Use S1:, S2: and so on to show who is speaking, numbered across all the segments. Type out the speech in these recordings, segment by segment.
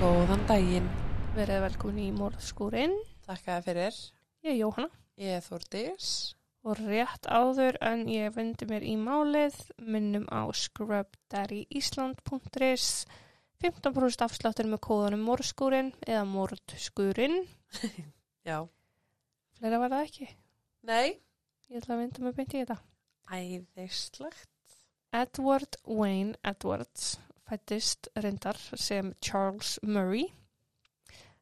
S1: Góðan daginn.
S2: Verið velkomin í morðskúrin.
S1: Takk að fyrir.
S2: Ég er Jóhanna
S1: Ég er Þórdís.
S2: og rétt áður en ég vendi mér í málið minnum á scrubdaddyisland.is 15% afsláttur með kóðanum morðskúrin eða morðskúrin.
S1: Já.
S2: Fleira var það ekki.
S1: Nei.
S2: Ég ætla að vinda mig beint í þetta.
S1: Æðislegt.
S2: Edward Wayne Edwards fættist reyndar sem Charles Murray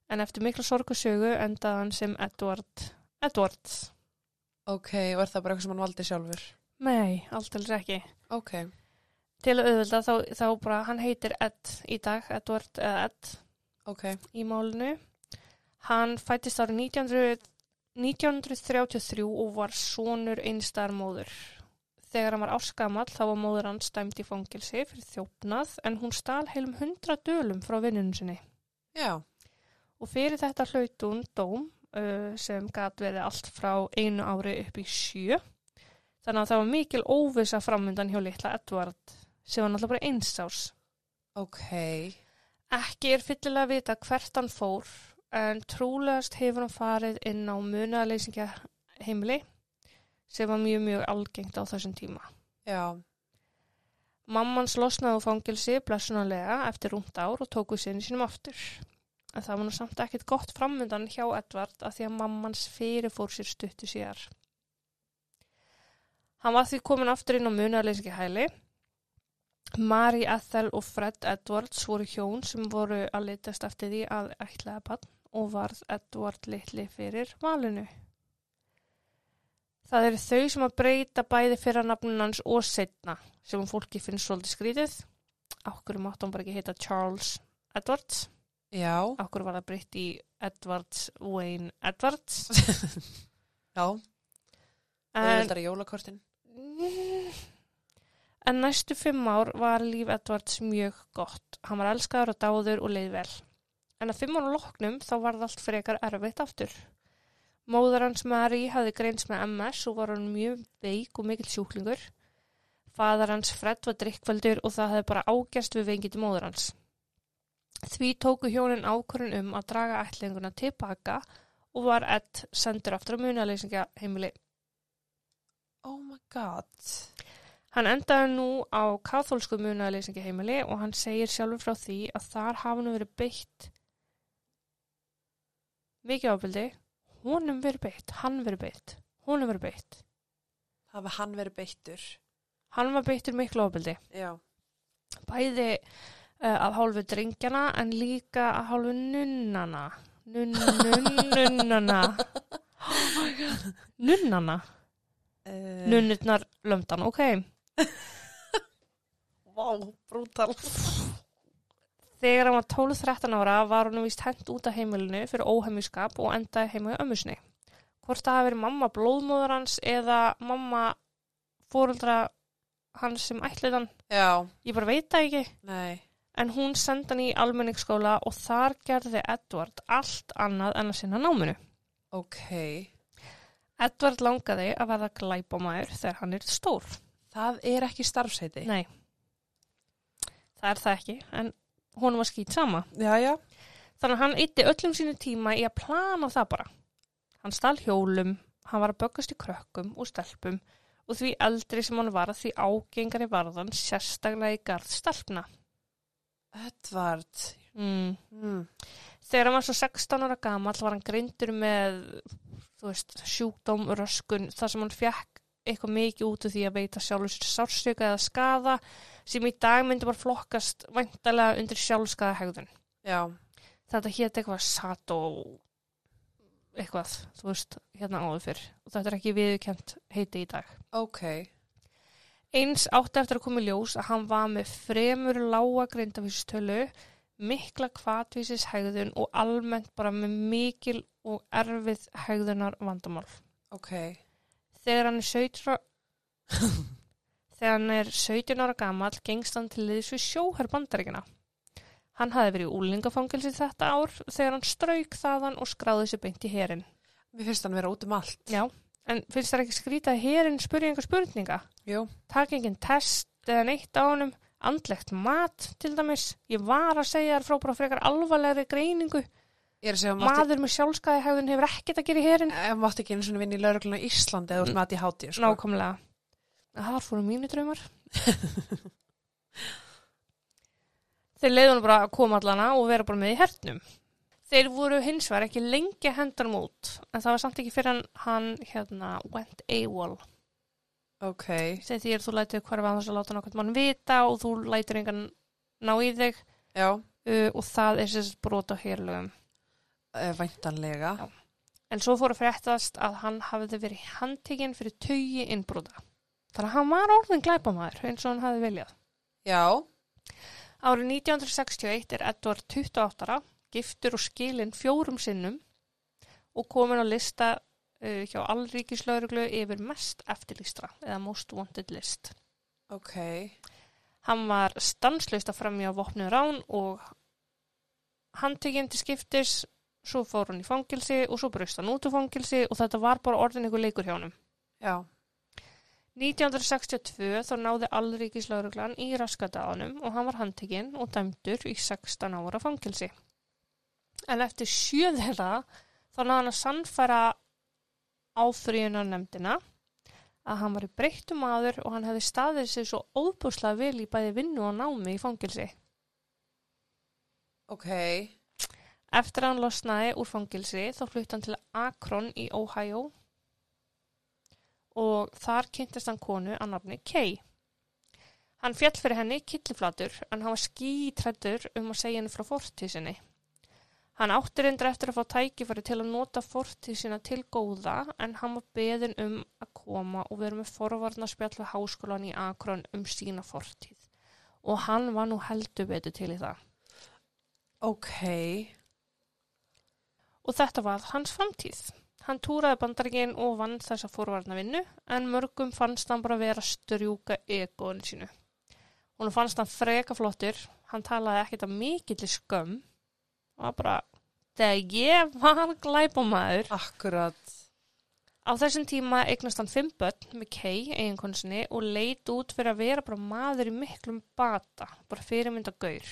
S2: en eftir mikla sorgusögu endaði hann sem Edward Edwards.
S1: Ok, og er það bara eitthvað sem hann valdi sjálfur?
S2: Nei, alltaf ekki.
S1: Ok.
S2: til að auðvitað þá, þá bara hann heitir Ed í dag, Edward eða Ed
S1: Ok.
S2: í málinu hann fættist árið 1900 1933 og var sonur einstar móður þegar hann var áskamall þá var móður hann stæmt í fangilsi fyrir þjófnað en hún stal heilum 100 dölum frá vinnunum sinni
S1: Já.
S2: og fyrir þetta hlaut hún dóm uh, sem gat verið allt frá einu ári upp í sjö þannig að það var mikil óvisa framöndan hjá litla Edward sem var náttúrulega bara eins árs
S1: Ok.
S2: Ekki er fyllilega vita hvert hann fór en trúlegast hefur hann farið inn á munaðleysingja heimili sem var mjög mjög algengt á þessum tíma.
S1: Já.
S2: Mammans losnaði á fangilsi blessunarlega eftir rúmt ár og tók við sinni sínum aftur. En það var nú samt ekkert gott framöndan hjá Edvard að því að mammans fyrirfór sér stuttu síðar. Hann var því komin aftur inn á munarleysingi hæli. Mari Ethel og Fred Edwards voru hjón sem voru að litast eftir því að ætlaða bann og varð Edward litli fyrir valinu. Það eru þau sem að breyta bæði fyrir nafnun hans og setna sem fólki finnst svolítið skrítið. Akkur mátt hann bara ekki heita Charles Edwards.
S1: Já.
S2: Akkur var það breytt í Edwards Wayne Edwards.
S1: Já. Það er
S2: En,
S1: þetta jólakortin.
S2: en næstu fimm ár var líf Edwards mjög gott. Hann var elskaður og dáður og leið vel. En að fimm ára loknum þá var það allt frekar erfitt aftur. Móður hans Mary hafði greins með MS og var hann mjög veik og mikill sjúklingur. Fadar hans Fred var drikkveldur og það hefði bara ágerst við vengið móður hans. Því tóku hjónin ákvörun um að draga ætlinguna tilbaka og var Ed sendur aftur á munaleysingja heimili.
S1: Oh my god.
S2: Hann endaði nú á katholsku munaleysingja heimili og hann segir sjálfur frá því að þar hafa nú verið beitt mikið ábyldi, honum verið beitt, hann verið beitt, honum verið beitt.
S1: Hafa hann verið beittur.
S2: Hann var beittur miklu ábyldi.
S1: Já.
S2: bæði uh, af hálfu drengjana en líka af hálfu nunnana Nun- nun- nunnana nunnana
S1: Uh,
S2: nunnurnar lömdan, ok
S1: Vá, brútal.
S2: þegar hann var 12-13 ára var hann vist hent út af heimilinu fyrir óhemjuskap og endaði heima í ömmusni hvort það hafi verið mamma blóðmóður hans eða mamma fóruldra hans sem ætlið hann
S1: Já.
S2: ég bara veit það ekki
S1: Nei.
S2: en hún sendi hann í almenningsskóla og þar gerði Edward allt annað en að sinna náminu.
S1: Ok.
S2: Edward langaði að verða glæbamæður þegar hann er stór.
S1: Það er ekki starfsheiti.
S2: Nei, það er það ekki, en hún var skýt sama.
S1: Já, já.
S2: Þannig að hann ytti öllum sínu tíma í að plana það bara. Hann stal hjólum, hann var að böggast í krökkum og stelpum og því eldri sem hann var því ágengari varðan sérstaklega í garð stelpna.
S1: Edvard.
S2: Mm.
S1: Mm.
S2: Þegar hann var svo 16 ára gamall var hann grindur með þú veist, sjúkdóm, röskun, þar sem hann fekk eitthvað mikið út úr því að veita sjálfur sér sársöka eða skaða sem í dag myndi bara flokkast væntalega undir sjálfskaðahegðun.
S1: Já.
S2: Þetta hétt eitthvað sato eitthvað, þú veist, hérna áður fyrr og þetta er ekki viðurkjönt heiti í dag.
S1: Ok.
S2: Eins átti eftir að koma í ljós að hann var með fremur lága grindafísistölu, mikla kvatvísis hegðun og almennt bara með mikil og erfið hegðunar vandamál.
S1: Ok.
S2: Þegar hann er 17 ára, Þegar hann er 17 ára gamall gengst hann til liðs við sjóherr bandaríkina. Hann hafði verið í úlingafangilsi þetta ár þegar hann strauk þaðan og skráði sér beint í herin.
S1: Mér finnst hann vera út um allt.
S2: Já, en finnst það ekki skrýta að herin spurði einhver spurninga?
S1: Jú.
S2: taka enginn test eða neitt á honum andlegt mat til dæmis, ég var að segja þér frá bara frekar alvarlegri greiningu
S1: Ég er að segja, þú mátt,
S2: maður með sjálfskaði hegðun hefur ekkert að gera í herin
S1: ekki- eh, mátt ekki einu svona vinna í laurugluna í Íslandi eða þú ert með að í hátíð, sko.
S2: nákvæmlega það fóru mínu draumar þeir leiði hann bara að koma allana og vera bara með í hernum þeir voru hins vegar ekki lengi hendan út en það var samt ekki fyrir hann, hann hérna went AWOL
S1: Ok,
S2: sem því er þú lætur hverfa annars að láta nokkvæmt mann vita og þú lætur engan ná í þig
S1: já,
S2: uh, og það er sérst brot á hérlögum.
S1: eh, væntanlega.
S2: Já. En svo fóru fréttast að hann hafði verið handtekinn fyrir tugi innbrota. Þannig að hann var orðin glæpamaður eins og hann hafði viljað.
S1: Já,
S2: Árið 1961 er Edward 28 ára, giftur og skilinn fjórum sinnum og komin á lista uh, hjá allríkislauruglu yfir mest eftirlýstra eða most wanted list.
S1: ok,
S2: Hann var stanslust að framjá vopnu rán og handtekinn til skiptis, svo fór hann í fangilsi og svo braust hann út úr fangilsi og þetta var bara orðin ykkur leikur hjá hann.
S1: já,
S2: 1962 þá náði allríkislauruglan í raskadaðanum og hann var handtekinn og dæmdur í 16 ára fangilsi. En eftir sjöð þeirra þá náði hann að sannfæra áfriðunar nefndina að hann var í breyttum aður og hann hefði staðið sig svo óbúslega vel í bæði vinnu og námi í fangilsi.
S1: ok,
S2: Eftir að hann losnaði úr fangilsi þá flutti hann til Akron í Ohio og þar kynntist hann konu að nafni Kay. Hann fjall fyrir henni killiflatur en hann var skítrættur um að segja henni frá fortíð sinni. Hann átti reyndar eftir að fá tækifæri til að nota fortíð sína til góða en hann var beðin um að koma og vera með forvarnarspjall við háskólan í Akron um sína fortíð. Og hann var nú heldur betur til í það.
S1: ok,
S2: og þetta var hans framtíð. Hann túraði bandaríkin og vann þessa fórvarnavinnu en mörgum fannst hann bara vera að strjúka egoinu sínu. Hún fannst hann freka flottur, hann talaði ekkert af mikill skömm og var bara, þegar ég var glæbamaður.
S1: akkurat,
S2: Á þessum tíma eignast hann fimm börn með Kay, eiginkonsinni, og leit út fyrir að vera bara maður í miklum bata, bara fyrirmynda gaur.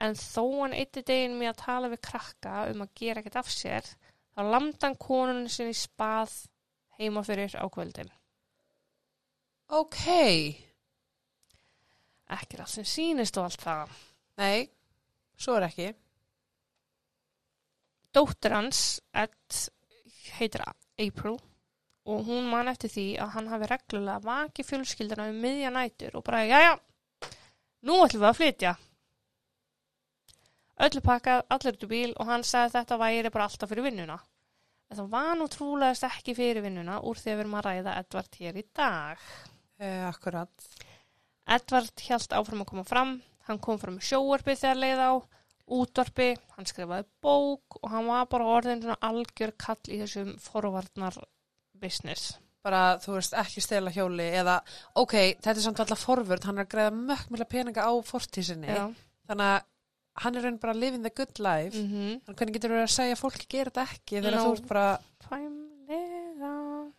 S2: En þó hann eitti deginn með að tala við krakka um að gera ekkert af sér, þá lamdi hann konunni sinni í spað heima fyrir á kvöldin.
S1: ok,
S2: Ekki er allt sem sýnist og allt það.
S1: nei, svo er ekki,
S2: Dóttir hans, Ed, heitir April og hún man eftir því að hann hafi reglulega vakið fjölskylduna um miðja nætur og bara, jæja, nú ætlum við að flytja. Öllu pakkað, allir út í bíl og hann sagði að þetta væri bara alltaf fyrir vinnuna. En það var nú trúlegast ekki fyrir vinnuna úr því að við erum að ræða Edvard hér í dag.
S1: eh, akkurat,
S2: Edvard hjælt áfram að koma fram, hann kom fram með sjóarpi þegar leið á, útvarpi, hann skrifaði bók og hann var bara orðin svona algjör kall í þessum forvarnar business.
S1: bara þú veist ekki stela hjóli eða, ok, þetta er samt alltaf forvörð, hann er að greiða mökkulega peninga á fortísinni,
S2: Já.
S1: þannig að hann er raun bara living the good life,
S2: Mm -hmm.
S1: þannig hvernig getur þú verið að segja að fólki gera þetta ekki þegar
S2: No.
S1: þú ert bara,
S2: Tæmlega.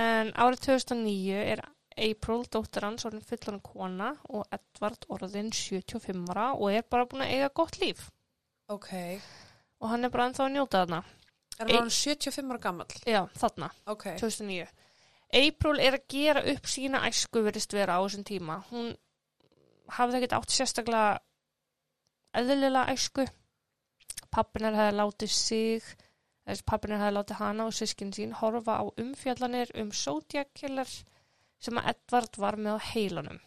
S2: En árið 2009 er April, dóttir hans, orðin fullan kona og Edvard orðin 75 ára og er bara búin að eiga gott líf.
S1: ok, er
S2: Og hann er bara ennþá að njóta þarna.
S1: hann orðinn 75 ára gamall,
S2: Já, þarna.
S1: ok,
S2: 2009. April er að gera upp sína æsku verist vera á þessum tíma. Hún hafði ekkert átt sérstaklega eðlilega æsku. Pappinar hefði látið sig, þess pappinar hefði látið hana og sískin sín horfa á umfjallanir um sótjakillar sem að Edvard var með á heilanum.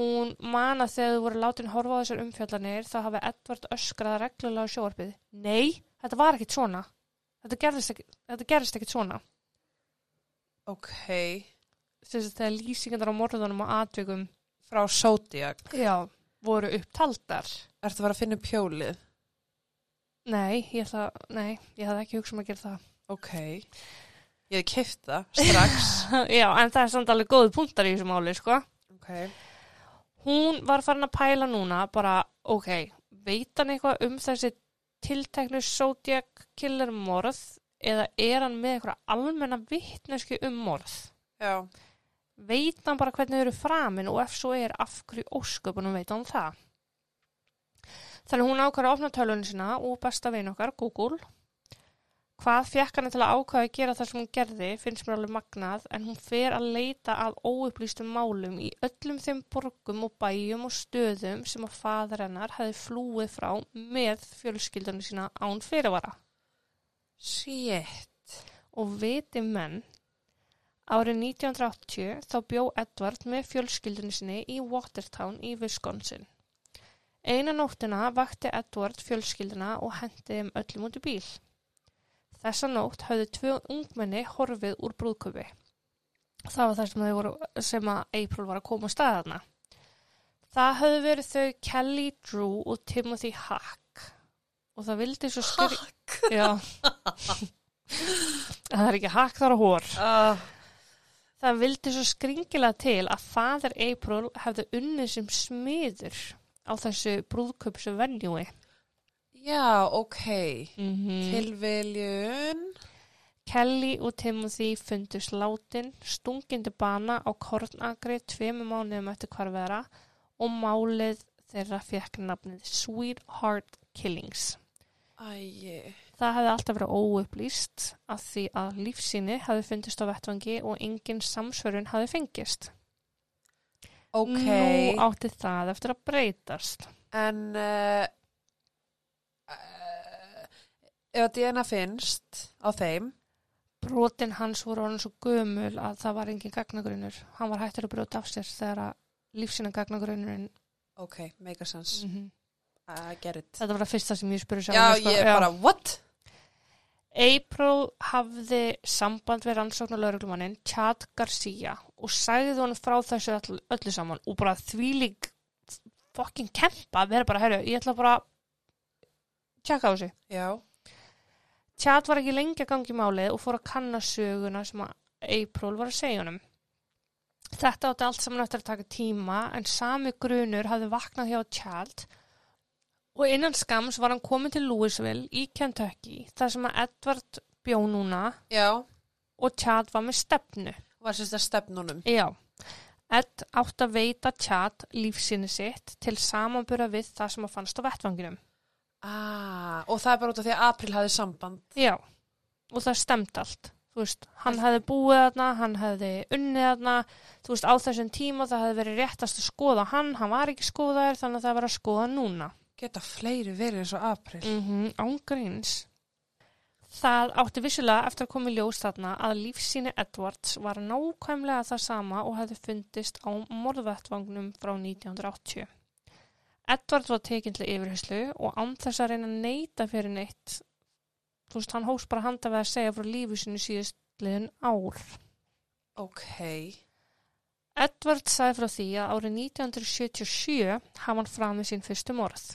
S2: Hún man að þegar þau voru látin horfa á þessar umfjallanir þá hafi Edvard öskrað reglulega á sjóarpið. Nei, þetta var ekkert svona. Þetta gerðist ekkert, þetta gerðist ekkert svona
S1: ok,
S2: þess að þegar lýsingarnar á morðunum og atvikum
S1: frá Zodiac,
S2: já. voru upptaldar.
S1: ertu að vera að finna upp hjólið,
S2: Nei, ég ætla, nei, ég hafði ekki hugsað um að gera það.
S1: ok, ég hef keift það strax,
S2: já, en það er samt alveg góð punktar í þessu máli, sko.
S1: ok,
S2: Hún var farin að pæla núna bara, ok, veit hann eitthvað um þessi tilteknu Zodiac killer morð eða er hann með eitthvað almenna vitnesku um morð?
S1: já,
S2: Veit hann bara hvernig þau eru framin og ef svo er af hverju ósköpunum veit hann það? Þannig hún ákvæður að opna tölunum sína og besta vin okkar, Google. Hvað fekk hann til að ákvæða að gera það sem hún gerði, finnst mér alveg magnað, en hún fer að leita að óupplýstum málum í öllum þeim borgum og bæjum og stöðum sem að faðar hennar hefði flúið frá með fjölskyldunum sína án fyrirvara.
S1: Shit.
S2: Og viti menn, árið 1980 þá bjó Edward með fjölskyldunni sinni í Watertown í Wisconsin. Eina nóttina vakti Edward fjölskylduna og hendi þeim öllum út í bíl. Þessa nótt höfðu tvö ungmenni horfið úr brúðköpi. Það var það sem, þau voru, sem að April var að koma á staðarna. Það höfðu verið þau Kelly Drew og Timothy Hack. Og það vildi svo styr...
S1: Fuck.
S2: Já. það er ekki hakk þar á hór.
S1: Uh,
S2: Það vildi svo skringilega til að fadir April hefði unnið sem smiður á þessu brúðköpsu venjúi.
S1: já, ok.
S2: Mm
S1: Mhm. Tilviljun.
S2: Kelly og Timothy fundust látin, stungindi bana á kornagri tveimur mánuðum eftir hvarfera og málið þeirra fekk nafnið Sweetheart Killings.
S1: Æi.
S2: Það hefði alltaf verið óupplýst af því að lífsýni hefði fundist á vettvangi og engin samsvörun hefði fengist.
S1: Ok.
S2: Nú átti það eftir að breytast.
S1: En uh, uh, ef að DNA finnst á þeim,
S2: brotin hans voru orðin svo gömul að það var engin gagnagrunnur. Hann var hættur að brjóta af sér þegar að lífsina gagnagrunnurinn
S1: ok, make a sense.
S2: mm
S1: I get it.
S2: þetta var það fyrsta sem ég spurði sjálf
S1: Mhm. Já,
S2: mig, sko.
S1: ég bara, what?
S2: April hafði samband við rannsóknarlauruglumannin Chad Garcia og sagði honum frá þessu öll, öllu saman og bara þvílík fucking kempa að vera bara, herru, ég ætla bara að tjekka á þessu
S1: Já,
S2: Chad var ekki lengi að gangi málið og fór að kanna söguna sem að April var að segja honum. Þetta átti allt saman eftir að taka tíma en sami grunur hafði vaknað hjá Chad og innan skams var hann komin til Louisville í Kentucky þar sem að Edward bjó núna
S1: já,
S2: og Chad var með stefnu.
S1: var sérst að stefnunum.
S2: Já, Ed átt að veita Chad lífsinni sitt til samanbura við það sem að fannst á vettvanginum.
S1: Ah, og það er bara út af því að April hafði samband.
S2: Já, og það stemt allt. Þú veist, hann hefði búið þarna, hann hefði unnið þarna, þú veist, á þessum tíma það hefði verið réttast að skoða hann, hann var ekki skoðaður, þannig að það var að skoða núna.
S1: Geta fleiri verið eins og April.
S2: Mm -hmm, ángríns. Það átti vissulega eftir að koma í ljós þarna að lífsýni Edwards var nákvæmlega það sama og hefði fundist á morðvettvangnum frá 1980. Edward var tekinn til yfirheyslu og án þess að reyna að neyta fyrir neitt þú veist, hann hóst bara handa við að segja frá lífu sinu síðustliðin ár.
S1: Ok,
S2: Edward sagði frá því að árið 1977 hafði hann framið sín fyrstu morð.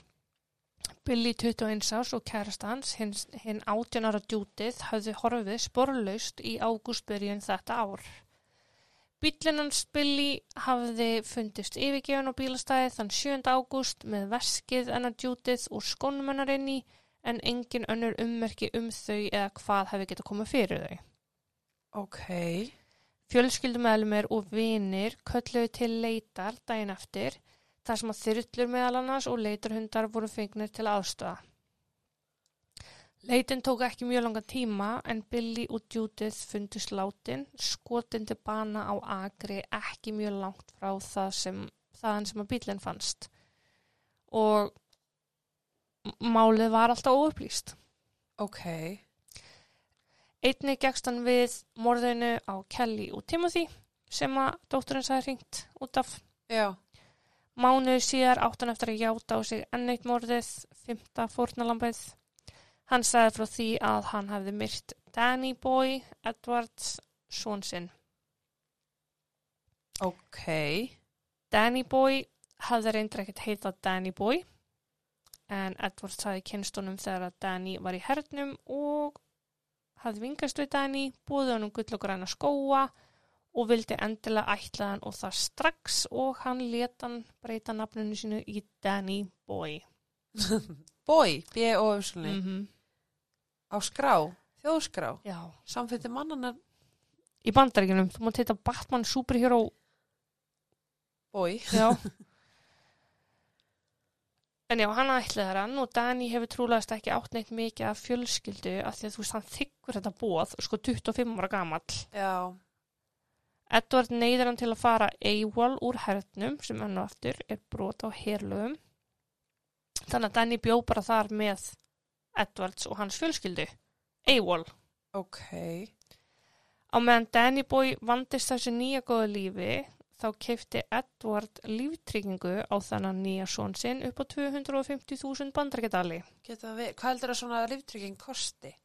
S2: Billy 21 árs og kærasta hans, hinn hin 18 ára djútið, hafði horfið sporlaust í ágústbyrjun þetta ár. Bíllinn hans Billy hafði fundist yfirgefin á bílastæði þann 7. ágúst með veskið hennar djútið og skónum hennar inn í en engin önnur ummerki um þau eða hvað hefði getað komið fyrir þau.
S1: ok.
S2: Fjölskyldumæðlumir og vinir kölluðu til leitar daginn eftir þar sem að þyrllur meðal annars og leitarhundar voru fengnir til aðstöða. Leitin tók ekki mjög langan tíma en Billy og Judith fundust látin, skotin til bana á agri ekki mjög langt frá það sem, þaðan sem að bílinn fannst. Og m- málið var alltaf óupplýst.
S1: Ok,
S2: Einni gegst hann við morðinu á Kelly og Timothy sem að dótturinn sagði hringt út af
S1: já,
S2: mánuðu síðar áttan eftir að játa á sig enneitt morðið, fymta fórnalambið. Hann sagði frá því að hann hefði myrt Danny Boy, Edwards, són sinn.
S1: ok.
S2: Danny Boy hafði reyndur ekkert heita Danny Boy en Edward sagði kynstunum þegar að Danny var í hernum og hafði vingast við Danny, búði honum gull og græna skóa og vildi endilega ætla hann og það strax og hann let hann breyta nafninu sínu í Danny Boy.
S1: Boy, B-O-U-S-L-I,
S2: -hmm.
S1: á skrá, þjóðskrá,
S2: Já.
S1: samfittir mannana
S2: í bandaríkjunum, þú mátt heita Batman Superhero
S1: Bói.
S2: já en já, hann ætlaði þar hann og Dani hefur trúlegast ekki átt neitt mikið af fjölskyldu af því að þú veist, hann þykkur þetta bóð sko 25 ára gamall
S1: Já.
S2: Edward neyðir hann til að fara AWOL úr hernum sem enn og aftur er brot á herlögum. Þannig að Danny bjó bara þar með Edwards og hans fjölskyldu, AWOL.
S1: Ok.
S2: Á meðan Danny Boy vandist þessu nýja góðu lífi þá keifti Edward líftryggingu á þannan nýja són sinn upp á 250.000 bandarækjadali.
S1: Geta við, hvað heldur að svona líftrygging kosti?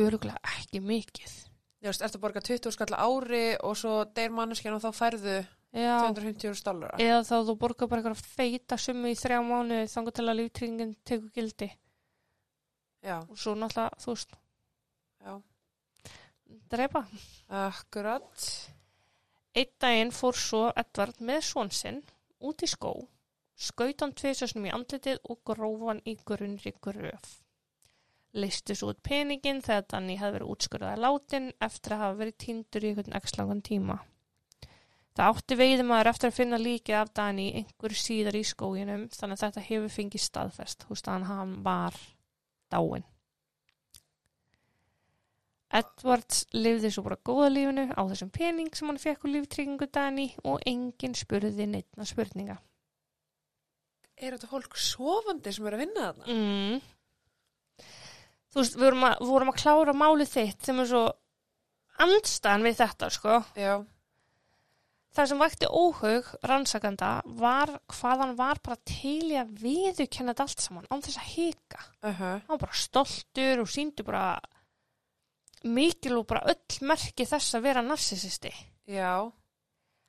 S2: Öruglega ekki mikið.
S1: Þú veist, ertu að borga 20 skall á ári og svo deyr manneskjan og þá færðu
S2: Já,
S1: 250 dollara.
S2: eða þá þú borgar bara eitthvað feita summu í þrjá mánu þangar til að líftryggingin tekur gildi.
S1: Já,
S2: og svo náttúrulega, þú veist
S1: Já.
S2: drepa.
S1: akkurat.
S2: Einn daginn fór svo Edvard með svon sinn út í skó skaut hann tvisasnum í andlitið og gróf hann í grunnri gröf listi svo út peningin þegar Danni hefði verið útskurðað látin eftir að hafa verið týndur í einhvern x-langan tíma Það átti veiðumæður eftir að finna líkið af Danni einhver síðar í skóginum þannig að þetta hefur fengið staðfest þú veist að hann var dáin Edwards lifði svo bara góða lífinu á þessum pening sem hann fekk úr líftryggingu Dani og enginn spurði neittna spurninga.
S1: Er þetta fólk sofandi sem er að vinna þarna?
S2: Mm. Þú veist, við vorum að, við vorum að klára málið þitt sem er svo andstæðan við þetta, sko.
S1: Já,
S2: Það sem vakti óhug rannsakanda var hvað hann var bara til í að viðukenna þetta allt saman án þess að hika.
S1: uh -huh.
S2: Hann var bara stoltur og síndi bara mikil og bara öll merki þess að vera narsisisti.
S1: já,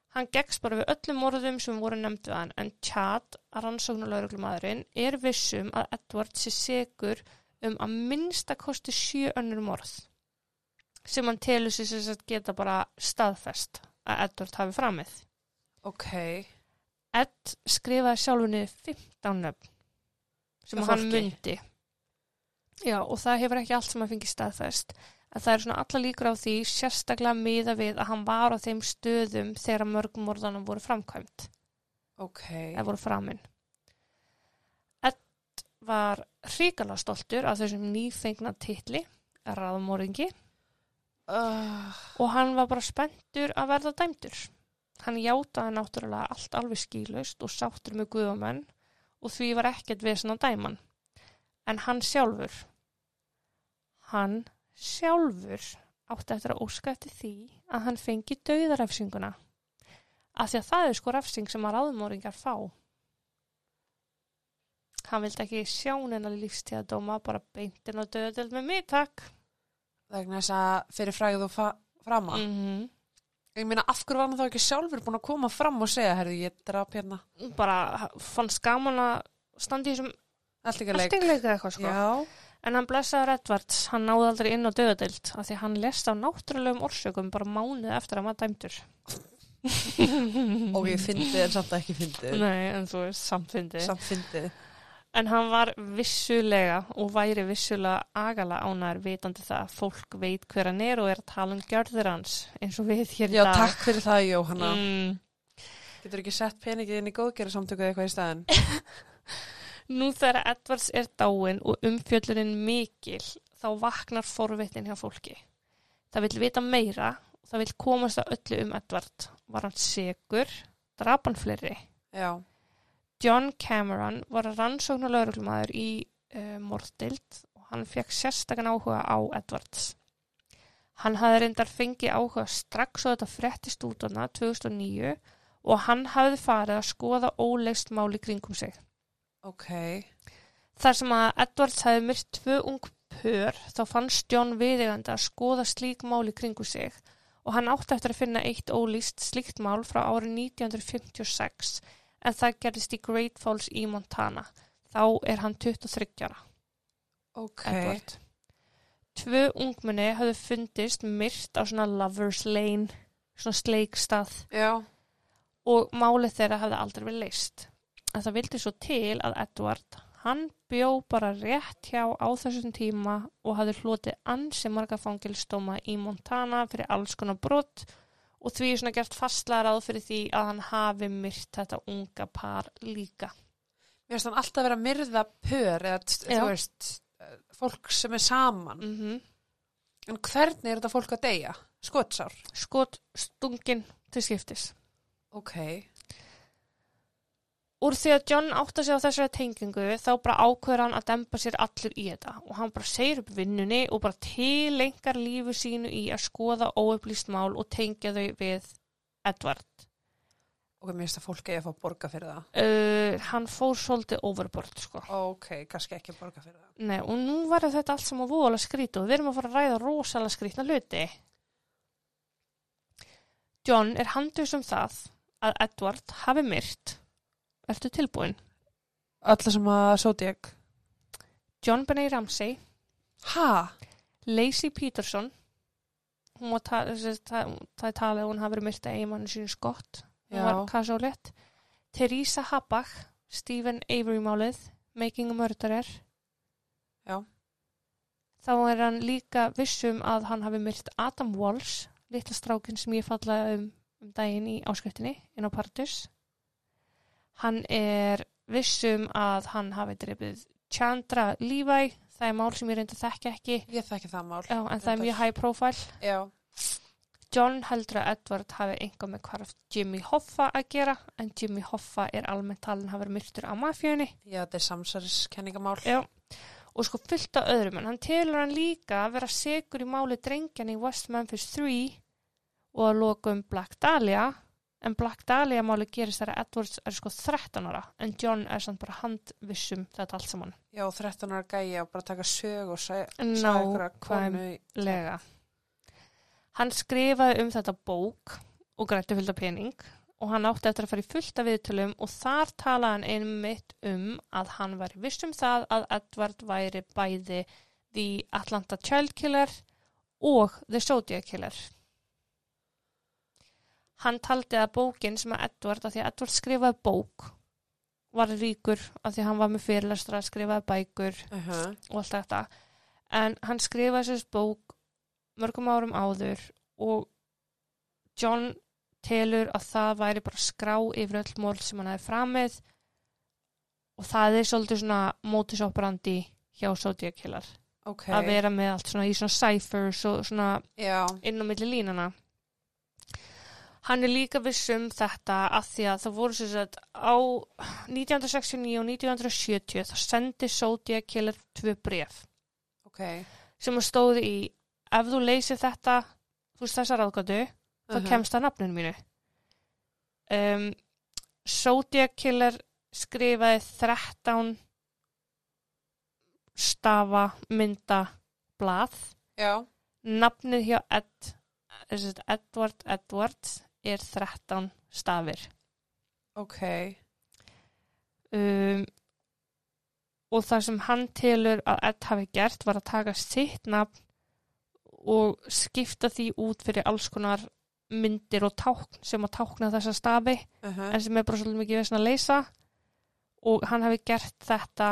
S2: Hann gekkst bara við öllum orðum sem voru nefnd við hann en Chad, rannsóknulauruglumæðurinn, er vissum að Edward sé segur um að minnsta kosti sjö önnur morð sem hann telur sér sem sagt geta bara staðfest að Edward hafi framið.
S1: ok.
S2: Ed skrifaði sjálfunni 15 nöfn sem
S1: Hjá
S2: hann
S1: fólki?
S2: myndi. Já, og það hefur ekki allt sem hann fengið staðfest. En það er svona alla líkur á því sérstaklega miða við að hann var á þeim stöðum þegar mörgumorðanum voru framkvæmt
S1: Ok.
S2: eða voru framin. Ed var hrikalega stoltur af þessum nýfengna titli, raðmóringi,
S1: Uh,
S2: og hann var bara spenntur að verða dæmdur. Hann játaði náttúrulega allt alveg skýlaust og sáttur með guðamenn og því var ekkert vesen að dæma hann. En hann sjálfur, hann sjálfur átti eftir að óska eftir því að hann fengi dauðarefsinguna. Af því að það er sko refsing sem að ráðmóringar fá. Hann vildi ekki sjá neina lífstíða dóma, bara beintin og döðadöld með mig, takk.
S1: vegna þess að fyrir fræðu og fa frama.
S2: Mm
S1: Ég meina, af hverju var hann þá ekki sjálfur búin að koma fram og segja, herðu, ég drap hérna.
S2: bara fannst gaman að standa í þessum
S1: Allt ekki að leik.
S2: alltingleika eitthvað sko.
S1: Já,
S2: En hann blessaður Edvards, hann náði aldrei inn á döðadeild af því að hann lest á náttúrulegum orsökum bara mánuð eftir að maður dæmdur.
S1: og ég fyndið en samt ekki fyndið.
S2: Nei, en þú veist, samfindi.
S1: Samt fyndið.
S2: En hann var vissulega og væri vissulega agala ánæður vitandi það að fólk veit hver hann er og er að tala um gjörður hans eins og við hér í
S1: Já,
S2: dag.
S1: takk fyrir það, Jóhanna.
S2: Mm.
S1: Getur ekki sett peningið inn í góðgerðu samtöku eða eitthvað í staðin?
S2: Nú þegar Edvards er dáin og umfjöllunin mikil, þá vaknar forvitin hjá fólki. Það vil vita meira, það vil komast að öllu um Edvard. Var hann segur, drap hann fleiri.
S1: Já,
S2: John Cameron var rannsóknar lauruglumæður í uh, Mordild og hann fekk sérstakann áhuga á Edvards. Hann hafði reyndar fengið áhuga strax og þetta frettist út hana 2009 og hann hafði farið að skoða ólegst máli kringum sig.
S1: ok.
S2: Þar sem að Edwards hefði myrt tvö ung pör þá fannst John viðegandi að skoða slík mál í kringu sig og hann átti eftir að finna eitt ólýst slíkt mál frá árið 1956 en það gerðist í Great Falls í Montana. Þá er hann 23 ára,
S1: Ok.
S2: Edward. Tvö ungmenni höfðu fundist myrt á svona Lover's Lane, svona sleikstað
S1: Já,
S2: og málið þeirra hafði aldrei verið leist. En það vildi svo til að Edward Hann bjó bara rétt hjá á þessum tíma og hafði hlotið ansi marga fangilstóma í Montana fyrir alls konar brot og því er svona gert fastlega ráð fyrir því að hann hafi myrt þetta unga par líka.
S1: Mér finnst hann alltaf vera að myrða pör eða t-
S2: Já.
S1: þú veist, eh, fólk sem er saman.
S2: Mm
S1: En hvernig er þetta fólk að deyja? Skotsár.
S2: Skot stungin til skiptis.
S1: Ok.
S2: Úr því að John átta sig á þessari tengingu þá bara ákveður hann að dempa sér allur í þetta og hann bara segir upp vinnunni og bara tilengar lífu sínu í að skoða óupplýst mál og tengja þau við Edward.
S1: Ok, mér finnst að fólk eigi að fá borga fyrir það.
S2: Uh, hann fór svolítið overboard sko.
S1: Ok, kannski ekki borga fyrir það.
S2: Nei, og nú verður þetta allt sem að voðalega skrýta og við erum að fara að ræða rosalega skrýtna hluti. John er handus um það að Edward hafi myrt. Ertu tilbúin?
S1: Alla sem að sóti ég.
S2: John Benet Ramsey,
S1: Ha?
S2: Lacey Peterson, hún var ta- þessi- það það er talið að hún hafi verið myrt að eiginmannu sínu skott. Hún
S1: Já.
S2: var kasólett. Teresa Habach, Stephen Avery málið, Making a Murderer.
S1: Já.
S2: Þá er hann líka vissum að hann hafi myrt Adam Walsh, litla strákin sem ég fallaði um, um daginn í áskriftinni, inn á Pardus. Hann er vissum að hann hafi drefið Chandra Levi, það er mál sem ég reynda þekki ekki,
S1: Ég þekki það mál.
S2: Já, en það er
S1: Reyndar.
S2: mjög high profile.
S1: Já.
S2: John heldur að Edward hafi einhvað með hvarf Jimmy Hoffa að gera en Jimmy Hoffa er almennt talin hafi verið myrtur á mafjunni
S1: Já, þetta er samsæriskenningamál.
S2: Já. og sko fullt af öðrum en hann telur hann líka að vera segur í máli drengjan í West Memphis 3 og að loka um Black Dahlia en Black Dahlia máli gerist þegar Edwards er sko 13 ára en John er samt bara handvissum þetta allt saman
S1: Já, 13 ára gæja og bara taka sög og segja einhverja
S2: Nákvæmlega
S1: konu í...
S2: Hann skrifaði um þetta bók og grætti fylgda pening og hann átti eftir að fara í fullta viðtölum og þar talaði hann einmitt um að hann var viss um það að Edward væri bæði The Atlanta Child Killer og The Zodiac Killer. Hann taldi að bókin sem að Edward, að því að Edward skrifaði bók, var ríkur að því að hann var með fyrirlestra, skrifaði bækur
S1: Uh -huh.
S2: og allt þetta en hann skrifaði sér bók mörgum árum áður og John telur að það væri bara skrá yfir öll mól sem hann hafi framið og það er svolítið svona modus operandi hjá Zodiac Killer
S1: Ok.
S2: að vera með allt svona í svona ciphers og svona
S1: Já.
S2: inn á milli línana hann er líka viss um þetta að því að það voru sér að á 1969 og 1970 þá sendi Zodiac Killer tvö bref
S1: Ok. Uh
S2: sem að stóði í ef þú leysir þetta þú veist þessa ráðgötu þá kemst það nafninu mínu um, Zodiac Killer skrifaði 13 stafa mynda blað
S1: Já.
S2: nafnið hjá Ed, sem sagt Edward Edwards er 13 stafir
S1: Ok.
S2: um, og það sem hann telur að Ed hafi gert var að taka sitt nafn og skipta því út fyrir alls konar myndir og tákn sem að tákna þessa stafi
S1: Uh
S2: en sem er bara svolítið mikið vesna að leysa og hann hafi gert þetta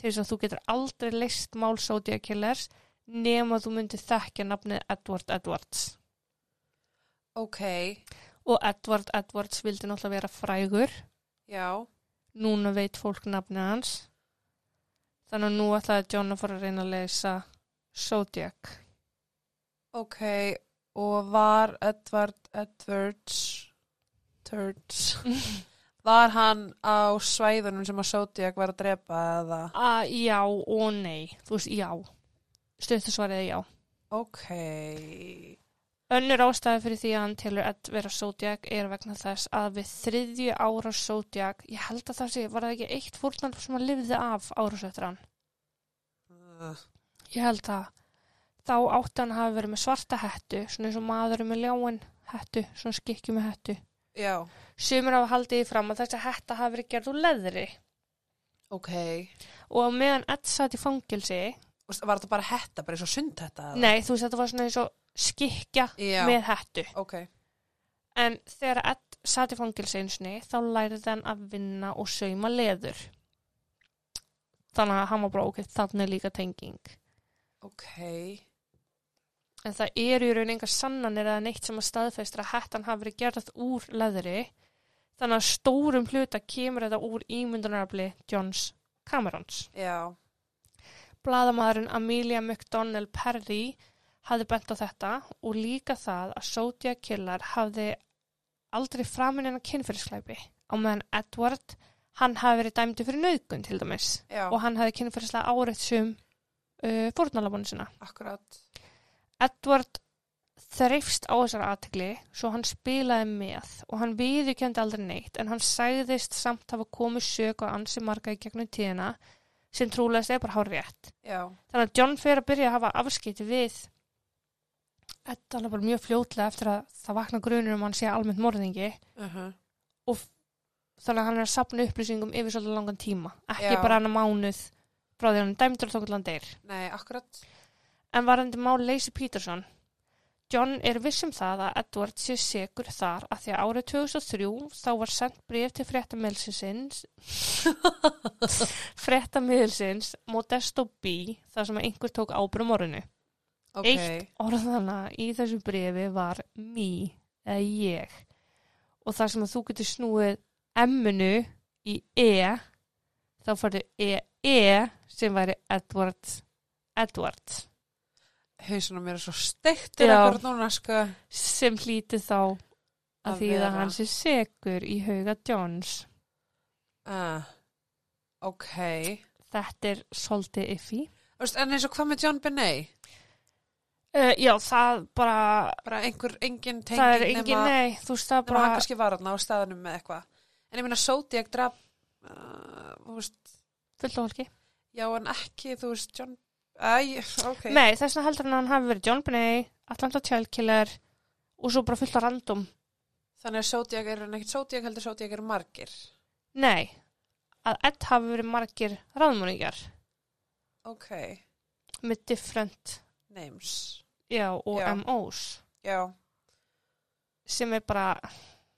S2: til þess að þú getur aldrei leist mál Zodiac Killers nema þú myndir þekkja nafnið Edward Edwards
S1: Ok.
S2: og Edward Edwards vildi náttúrulega vera frægur
S1: Já.
S2: núna veit fólk nafnið hans þannig að nú ætlaði John að fara að reyna að leysa Zodiac
S1: Ok. Og var Edward Edwards Turds Var hann á svæðunum sem að Zodiac var að drepa eða?
S2: að já og nei þú veist já stuttu svarið er já
S1: Ok.
S2: önnur ástæði fyrir því að hann telur að vera Zodiac er vegna þess að við þriðju ára Zodiac ég held að það sé, var það ekki eitt fórnald sem að lifði af árásöftur hann
S1: Uh,
S2: ég held það þá átti hann að hafa verið með svarta hettu svona eins og maður er með ljáin hettu svona skikkju með hettu
S1: Já.
S2: Sumir hafa haldið í fram að þessi hætta hafi verið gerð úr leðri
S1: Ok.
S2: og á meðan Ed satt í fangilsi
S1: Og s- Var þetta bara hetta, bara eins og sund hetta?
S2: Nei, þú veist, þetta var svona eins og skikja
S1: Já.
S2: með hættu
S1: Ok.
S2: En þegar Ed satt í fangilsi einsinni þá lærði hann að vinna og sauma leður þannig að hann var bara ok, þannig er líka tenging
S1: Ok.
S2: en það eru í raun engar sannanir eða neitt sem að staðfestra að hettan hafi verið gerð úr leðri þannig að stórum hluta kemur þetta úr ímyndunarafli Johns Camerons.
S1: Já.
S2: Blaðamaðurinn Amelia McDonnell Perry hafði bent á þetta og líka það að Zodiac Killer hafði aldrei framin en að kynfyrirslæpi á meðan Edward hann hafi verið dæmdi fyrir nauðgun til dæmis
S1: Já.
S2: og hann hafi kynfyrirslega áreitt sum uh, fórnalabannu sína.
S1: Akkurat.
S2: Edward þreifst á þessar aðtegli svo hann spilaði með og hann viðurkendi aldrei neitt en hann sagðist samt hafa komið sök og ansi marga í gegnum tíðina sem trúlega er bara hár rétt.
S1: Já.
S2: Þannig að John fer að byrja að hafa afskipti við Edda hann er bara mjög fljótlega eftir að það vakna grunur um að hann sé almennt morðingi
S1: Uh
S2: þannig að hann er að sapna upplýsingum yfir svolítið langan tíma ekki
S1: Já.
S2: bara hann að mánuð frá því að hann er dæmdur og tók allan deyr.
S1: Nei, akkurat.
S2: En varandi mál Lacey Peterson, John er viss um það að Edward sé segur þar að því að árið 2003 þá var sendt bref til fréttamiðilsins fréttamiðilsins Modesto B þar sem að einhver tók ábrum orðinu.
S1: Ok.
S2: Eitt orðana í þessu brefi var me eða ég og þar sem að þú getur snúið M-unu í E þá færðu E-E sem væri Edward Edward.
S1: Hauðsuna mér er svo steiktur
S2: Já.
S1: akkurat núna, sko.
S2: sem hlíti þá að
S1: Að
S2: því að
S1: vera.
S2: hann sé segur í hauga Johns.
S1: Uh. Ok.
S2: Þetta er svolítið iffi.
S1: Þú veist, en eins og hvað með John Benet?
S2: Uh, já, það bara,
S1: Bara einhver, engin tenging
S2: það er engin,
S1: nema,
S2: nei, þú veist það
S1: nema hann
S2: bara,
S1: kannski var hann á staðanum með eitthvað. En ég meina, Zodiac draf, uh, þú veist,
S2: fullt og hólki.
S1: já en ekki, þú veist, John, æ, ok.
S2: Nei, þess vegna heldur hann að hann hafi verið John Benet, Atlanta Child Killer og svo bara fullt og random.
S1: Þannig að Zodiac eru en ekkert Zodiac heldur Zodiac eru margir.
S2: Nei, að Ed hafi verið margir ráðmóningar
S1: Ok,
S2: með different,
S1: names.
S2: já, og
S1: Já.
S2: MOs
S1: Já,
S2: sem er bara,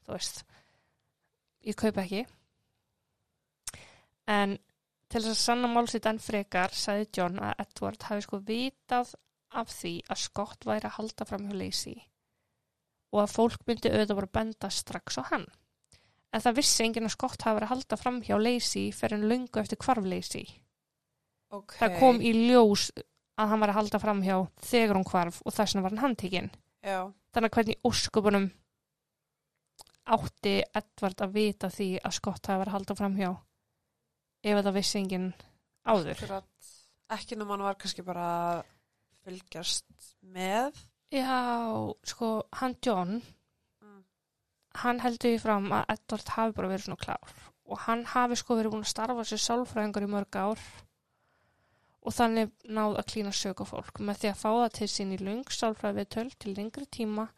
S2: þú veist, ég kaupa ekki. En til þess að sanna mál sitt enn frekar sagði John að Edward hafi sko vitað af því að Scott væri að halda fram hjá Lacey og að fólk myndi auðvitað bara benda strax á hann. En það vissi enginn að Scott hafi verið að halda fram hjá Lacey fyrir en lungu eftir hvarf Lacey.
S1: ok.
S2: Það kom í ljós að hann var að halda fram hjá þegar hún hvarf og þess vegna var hann handtekinn
S1: Já,
S2: þannig að hvernig í ósköpunum átti Edvard að vita því að Scott hafi verið að halda framhjá ef að það vissi enginn áður.
S1: akkurat. Ekki nema hann var kannski bara að fylgjast með.
S2: Já, sko, hann John
S1: Mm.
S2: hann heldur í fram að Edvard hafi bara verið svona klár og hann hafi sko verið búin að starfa sér sálfræðingur í mörg ár og þannig náð að klína sök á fólk með því að fá það til sín í lung sálfræði við töl til lengri tíma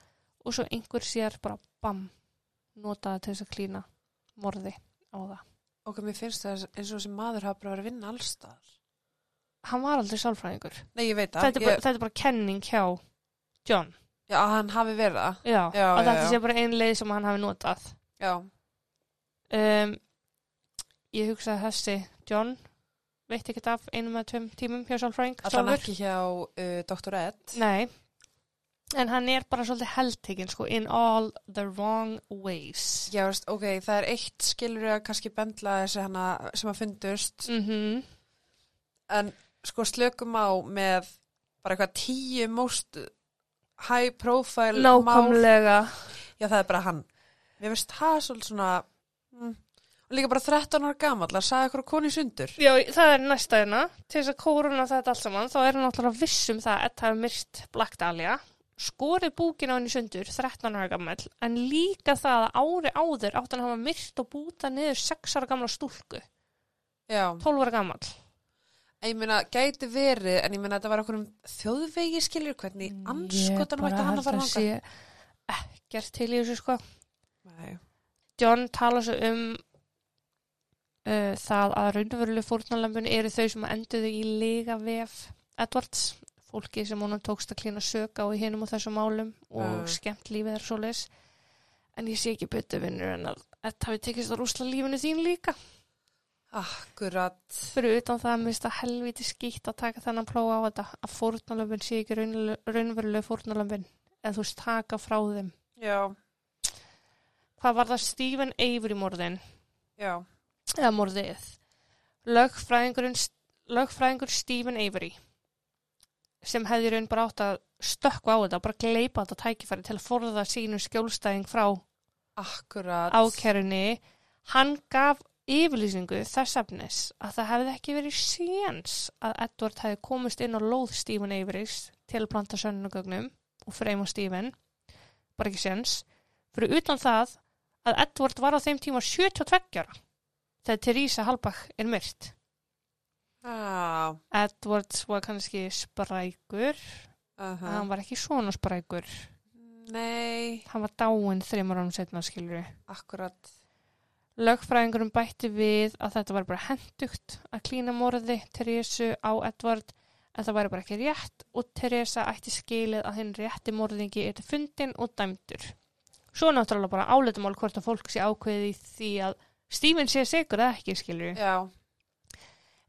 S2: og svo einhver sér bara bam notaði til þess að klína morði á það.
S1: Ok, mér finnst það eins og þessi maður hafa bara verið að vinna allstaðar.
S2: Hann var aldrei sálfræðingur.
S1: Nei, ég veit það.
S2: Þetta er, bara,
S1: Ég,
S2: þetta er bara kenning hjá John.
S1: já, að hann hafi verið það.
S2: Já,
S1: Já,
S2: að
S1: já,
S2: þetta
S1: já.
S2: sé bara ein leið sem hann hafi notað.
S1: Já,
S2: um, ég hugsaði að þessi John veit ekkert af einum eða tveim tímum hjá Sálfræng
S1: allan ekki hjá uh, Dr. Ed.
S2: Nei, en hann er bara svolítið heldtekinn sko, in all the wrong ways
S1: Já, veist, ok, það er eitt skilur að kannski bendla þessi hana sem að fundust.
S2: mm
S1: en sko slökum á með bara eitthvað tíu most high profile mál.
S2: Nákvæmlega
S1: Já, það er bara hann. Mér finnst það svolítið svona mm, og líka bara 13 ára gamall að sagði eitthvað koni sundur.
S2: Já, það er næsta hérna til þess að kóruna þetta allt saman þá er hann alltaf viss um það að Ed hafi myrkt Black Dahlia skorið búkin á henni sundur 13 ára gammal en líka það að ári áður átt hann að hafa myrkt og búta niður 6 ára gamla stúlku
S1: Já,
S2: 12 ára gammal
S1: en ég meina gæti verið en ég meina þetta var okkur um þjóðvegi skilur hvernig í anskotanum ætti hann að fara hanga.
S2: Ég bara held að sé ekkert til í þessu sko.
S1: Nei,
S2: John tala svo um uh, það að raunveruleg fórnalambun eru þau sem enduðu í lega vef Edwards, fólki sem honum tókst að klína sög á í hinum og þessum málum og
S1: Mm.
S2: skemmt lífið er svoleiðis. En ég sé ekki betur vinnur en að þetta hafi tekist að rúsla lífinu þín líka.
S1: Akkurat.
S2: Fyrir utan það að mér finnst það helviti skýtt að taka þennan plóa á þetta að fórnalöfin sé ekki raunle- raunverulegu fórnalöfin eða þú veist taka frá þeim.
S1: Já,
S2: Hvað var það Stephen Avery morðin
S1: já.
S2: eða morðið? Lögfræðingurinn, lögfræðingur Stephen Avery sem hefði í raun bara átt að stökkva á þetta og bara gleipa þetta tækifæri til að forða sínu skjólstæðing frá
S1: Akkurat.
S2: ákerunni hann gaf yfirlýsingu þess efnis að það hefði ekki verið séns að Edward hefði komist inn á lóð Stephen Avery's til að planta sönnugögnum og freyma Stephen bara ekki séns fyrir utan það að Edward var á þeim tíma 72 ára þegar Theresa Halbach er myrt
S1: Já,
S2: Edward var kannski sprækur
S1: uh
S2: hann var ekki svona sprækur
S1: Nei,
S2: hann var dáinn þreymur ánum setna skilur
S1: akkurat.
S2: Lögfræðingurum bætti við að þetta var bara hendugt að klína morði Teresu á Edvard en það væri bara ekki rétt og Teresa ætti skilið að hinn rétti morðingi er til fundin og dæmdur. Svo náttúrulega bara áleitumál hvort að fólk sé ákveðið í því að Stephen sé sigur eða ekki skilur.
S1: Já,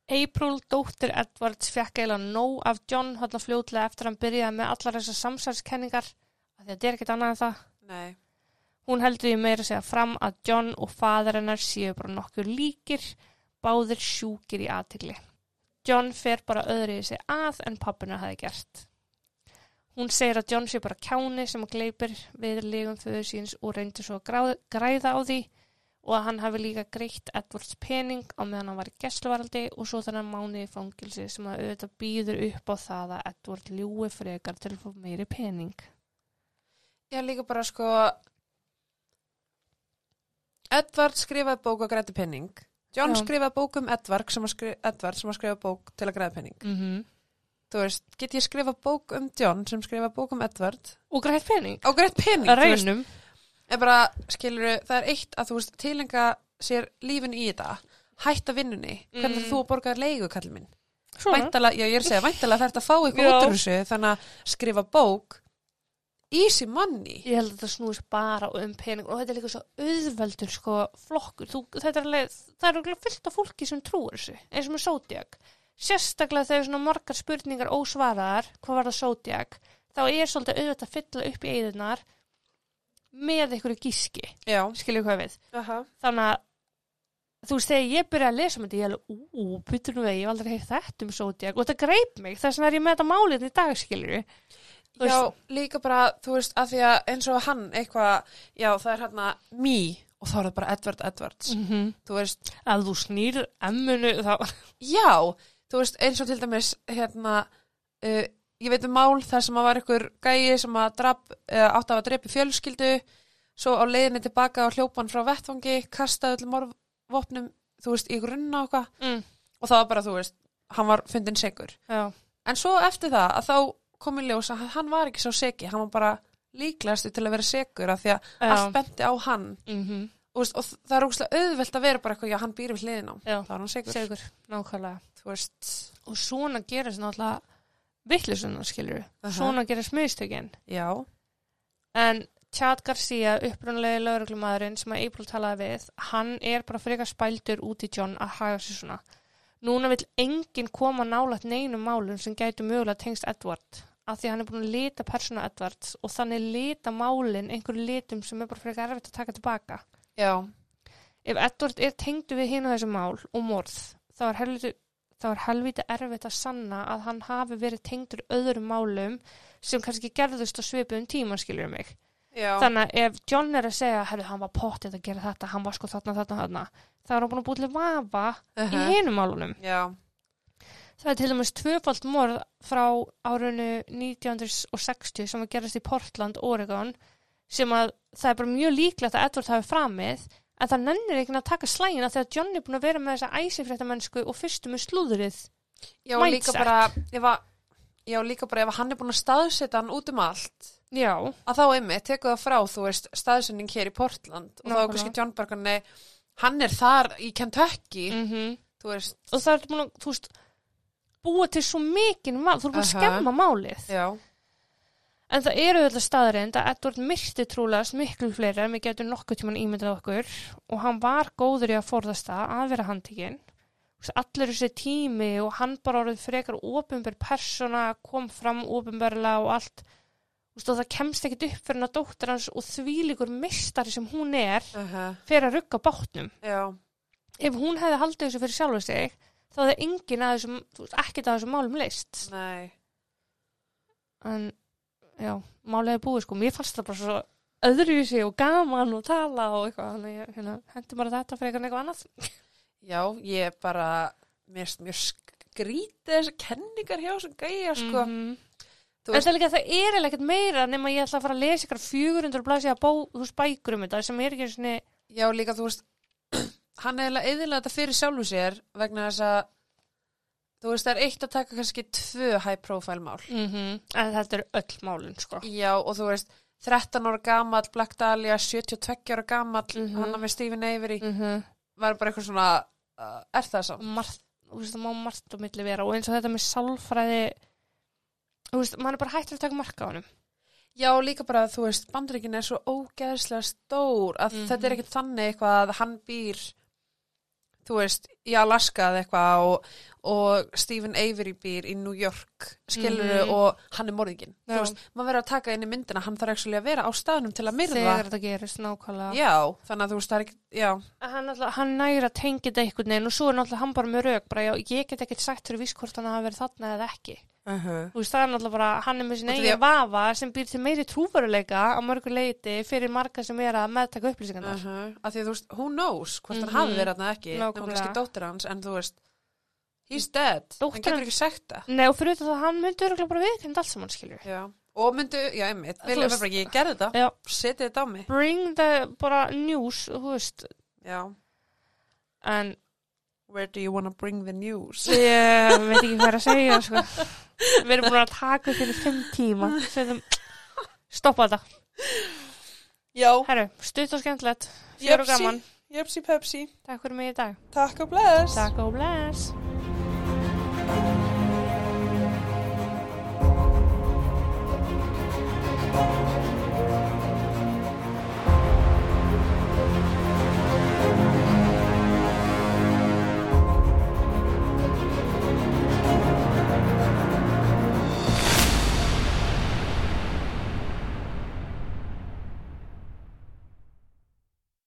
S2: April, dóttir Edwards, fekk eiginlega nóg af John hann fljótlega eftir að hann byrjaði með allar þessar samsælskenningar af því að þetta er ekkert annað en það.
S1: nei.
S2: Hún heldur því meira að segja fram að John og faðir hennar séu bara nokkuð líkir, báðir sjúkir í aðtigli. John fer bara öðru í sig að en pappina hafi gert. Hún segir að John sé bara kjáni sem að gleipir við lígum föður síns og reyndi svo að gráð, græða á því og að hann hafi líka greitt Edwards pening á meðan hann var í gesluvaraldi og svo þannig mánuði í fangilsi sem að auðvitað býður upp á það að Edward ljúi frekar til að fá meiri pening.
S1: Ég líka bara sko... Edvard skrifaði bók og græti penning. John
S2: Já.
S1: skrifaði bók um Edvard sem, að skri... Edvard sem að skrifa bók til að græða penning.
S2: Mm -hmm.
S1: Þú veist, get ég skrifa bók um John sem skrifa bók um Edvard
S2: Og greitt pening?
S1: og grætt penning,
S2: Að
S1: þú veist.
S2: reynum?
S1: er bara, skilur, það er eitt að þú veist tilenga sér lífin í þetta hætta vinnunni, hvernig
S2: Mm.
S1: mm. þú að borga þér leigu, kallið minn,
S2: Svona.
S1: væntalega, já ég er að segja væntalega þarf þetta að fá eitthvað
S2: Já.
S1: út úr þessu þannig að skrifa bók easy money
S2: Ég held að þetta snúist bara um pening og þetta er líka svo auðveldur sko flokkur. Þú, þetta er alveg, það er alveg fullt af fólki sem trúir þessu, eins og með Zodiac. Sérstaklega þegar svona margar spurningar ósvaraðar, hvað var það Zodiac, þá er svolítið auðvelt að fylla upp í eðinar með einhverju gíski,
S1: já,
S2: skilju hvað við.
S1: aha,
S2: Þannig að þú veist, þegar ég byrja að lesa um þetta, ég er alveg, ú, byttur nú við, ég hef aldrei heyrt þetta um Zodiac og þetta greip mig, þess vegna er ég með þetta málið í dag, skilju. Þú
S1: já, líka bara þú veist, að því að eins og hann eitthvað, já það er hann að me og þá er það bara Edward Edwards
S2: Mm -hmm.
S1: þú veist,
S2: að þú snýr emmunu þá
S1: já, þú veist eins og til dæmis hérna uh, ég veit um mál þar sem að var ykkur gæi sem að drap, uh, átt af að drepi fjölskyldu svo á leiðinni tilbaka og hljópan frá vettvangi, kastaði öllum morvopnum, þú veist, í grunna og eitthvað
S2: mm.
S1: og það var bara, þú veist, hann var fundin segur
S2: já,
S1: en svo eftir það að þá kom í ljós að hann var ekki svo segi, hann var bara líklegasti til að vera segur af því að
S2: Já.
S1: allt benti á hann
S2: mm -hmm.
S1: og, veist, og það er ógustlega auðvelt að vera bara eitthvað, já, hann býr við hliðin á
S2: já.
S1: þá er hann segur,
S2: segur, nákvæmlega
S1: þú veist
S2: og svona gerist náttúrulega vittlisuna skilur,
S1: Aha.
S2: svona gerist mistökin
S1: já,
S2: en Chad Garcia, upprunalegi lögreglumæðurinn sem að April talaði við hann er bara frekar spældur út í John að haga sér svona núna vill enginn koma nálægt neinum málum sem gætu mögulega tengst Edward af því að hann er búin að lita persónu Edwards og þannig lita málin einhverju litum sem er bara frekar erfitt að taka tilbaka
S1: já,
S2: Ef Edward er tengdu við hinn á þessu mál og morð, þá er helviti, þá er helviti erfitt að sanna að hann hafi verið tengdur öðrum málum sem kannski gerðust á svipuðum tíma, skilur mig.
S1: já
S2: Þannig að ef John er að segja, herru, hann var pottið að gera þetta, hann var sko þarna, þarna, þarna, þá er hann búin að búin til vafa í
S1: -huh.
S2: hinum málunum.
S1: Já,
S2: Það er til dæmis tvöfald morð frá árunnu 1960 sem að gerast í Portland, Oregon sem að það er bara mjög líklegt að Edward hafi framið en það nennir ekki að taka slægina þegar John er búin að vera með þessa æsifrétta mennsku og fyrstu með slúðrið.
S1: já
S2: Mindset.
S1: líka bara ef að, já líka bara ef að hann er búin að staðsetja hann út um allt
S2: Já,
S1: að þá einmitt, tekur það frá, þú veist staðsending hér í Portland og þá
S2: Nákvæmlega.
S1: er kannski John Bergan, nei, hann er þar í Kentucky,
S2: mm
S1: þú veist
S2: og það er búin að, þú veist, búa til svo mikinn mál, þú er búin að
S1: Aha.
S2: skemma málið.
S1: Já,
S2: En það eru auðvitað staðreind að Edward myrti trúlega miklu fleiri en við getum nokkuð tíman ímyndað okkur og hann var góður í að forðast það að vera handtíkin þú veist, allur þessi tími og hann bara orðið frekar opinber persóna, kom fram opinberlega og allt Þú veist, og það kemst ekkit upp fyrir hann að dóttir hans og þvílíkur mistari sem hún er
S1: Aha,
S2: fyrir að rugga á bátnum
S1: já,
S2: ef hún hefði haldið þessu fyrir sjálfa sig þá hefði enginn að þessum, þú veist, ekkert að þessum málum leist
S1: nei,
S2: en já, málið er búið sko, mér fannst það bara svo öðruvísi og gaman og tala og eitthvað, þannig ég hérna, hendi bara þetta fyrir eitthvað annað
S1: já, ég bara, mér finnst mjög skrítið þessar kenningar hjá sem gæja, sko.
S2: -hmm.
S1: Þú
S2: en það er líka, það er eiginlega ekkert meira nema ég ætla að fara að lesa ykkur 400 blæsi að bó, þú veist, bækur um þetta sem er ekki svona,
S1: Já, líka, þú veist, hann er eiginlega eyðilega þetta fyrir sjálfu sér vegna þess að, þú veist, það er eitt að taka kannski tvö high profile mál.
S2: mm en þetta er öll málin sko
S1: Já, og þú veist, 13 ára gamall, Black Dahlia, 72 ára gamall, mm
S2: Mhm.
S1: hann með Stephen Avery,
S2: mm -hmm.
S1: var bara eitthvað svona, uh, er það samt?
S2: margt, þú veist, það má margt á milli vera og eins og þetta með sálfræði þú veist, maður er bara hættur að taka marka á honum
S1: Já, líka bara að þú veist, bandaríkin er svo ógeðslega stór að
S2: Mhm.
S1: þetta er ekkert þannig eitthvað að hann býr, þú veist, í Alaska eða eitthvað og, og Stephen Avery býr í New York, skiluru,
S2: Mhm.
S1: og hann er morðinginn. Þú
S2: Já.
S1: veist, maður verður að taka inn í myndina, hann þarf ekki að vera á staðnum til að myrða.
S2: þegar þetta gerist nákvæmlega
S1: Já, þannig að þú veist, það er ekki, já,
S2: hann, alltaf, hann næra tengið þetta einhvern veginn og svo er náttúrulega hann bara með rauk bara, já, ég get ekkert sagt fyrir vískvort hann hafa verið þarna eða ekki
S1: uh -huh.
S2: þú veist það er náttúrulega bara, hann er með sin
S1: Út af því
S2: eigin vafa sem býr til meiri trúveruleika á mörgu leiti fyrir marga sem er að meðtaka upplýsingarnar
S1: að Mhm. því að þú veist, who knows hvort
S2: Mhm.
S1: hann hafi verið þarna eða ekki,
S2: Nákvæmlega.
S1: nema kannski dóttir hans, en þú veist, he's dead,
S2: Dóttir
S1: hann getur
S2: hans-
S1: ekki sagt það.
S2: nei og fyrir þetta að hann myndi örgulega bara viðkend allt sem hann skilur
S1: Já, og myndu, já, einmitt,
S2: Þú
S1: vilja
S2: veist-
S1: bara ekki, ég gerði þetta,
S2: já,
S1: setið þetta á mig.
S2: bring the bara news, þú veist
S1: Já,
S2: en
S1: where do you wanna bring the news?
S2: ég veit ekki hvað er að segja sko. við erum búin að taka upp fyrir fimm tíma Sveðum, stoppa þetta
S1: Já,
S2: Herru, stutt og skemmtilegt,
S1: Jöpsi.
S2: fjör og gaman
S1: jepsi pepsi,
S2: Takk fyrir mig í dag
S1: takk og bless.
S2: Takk og bless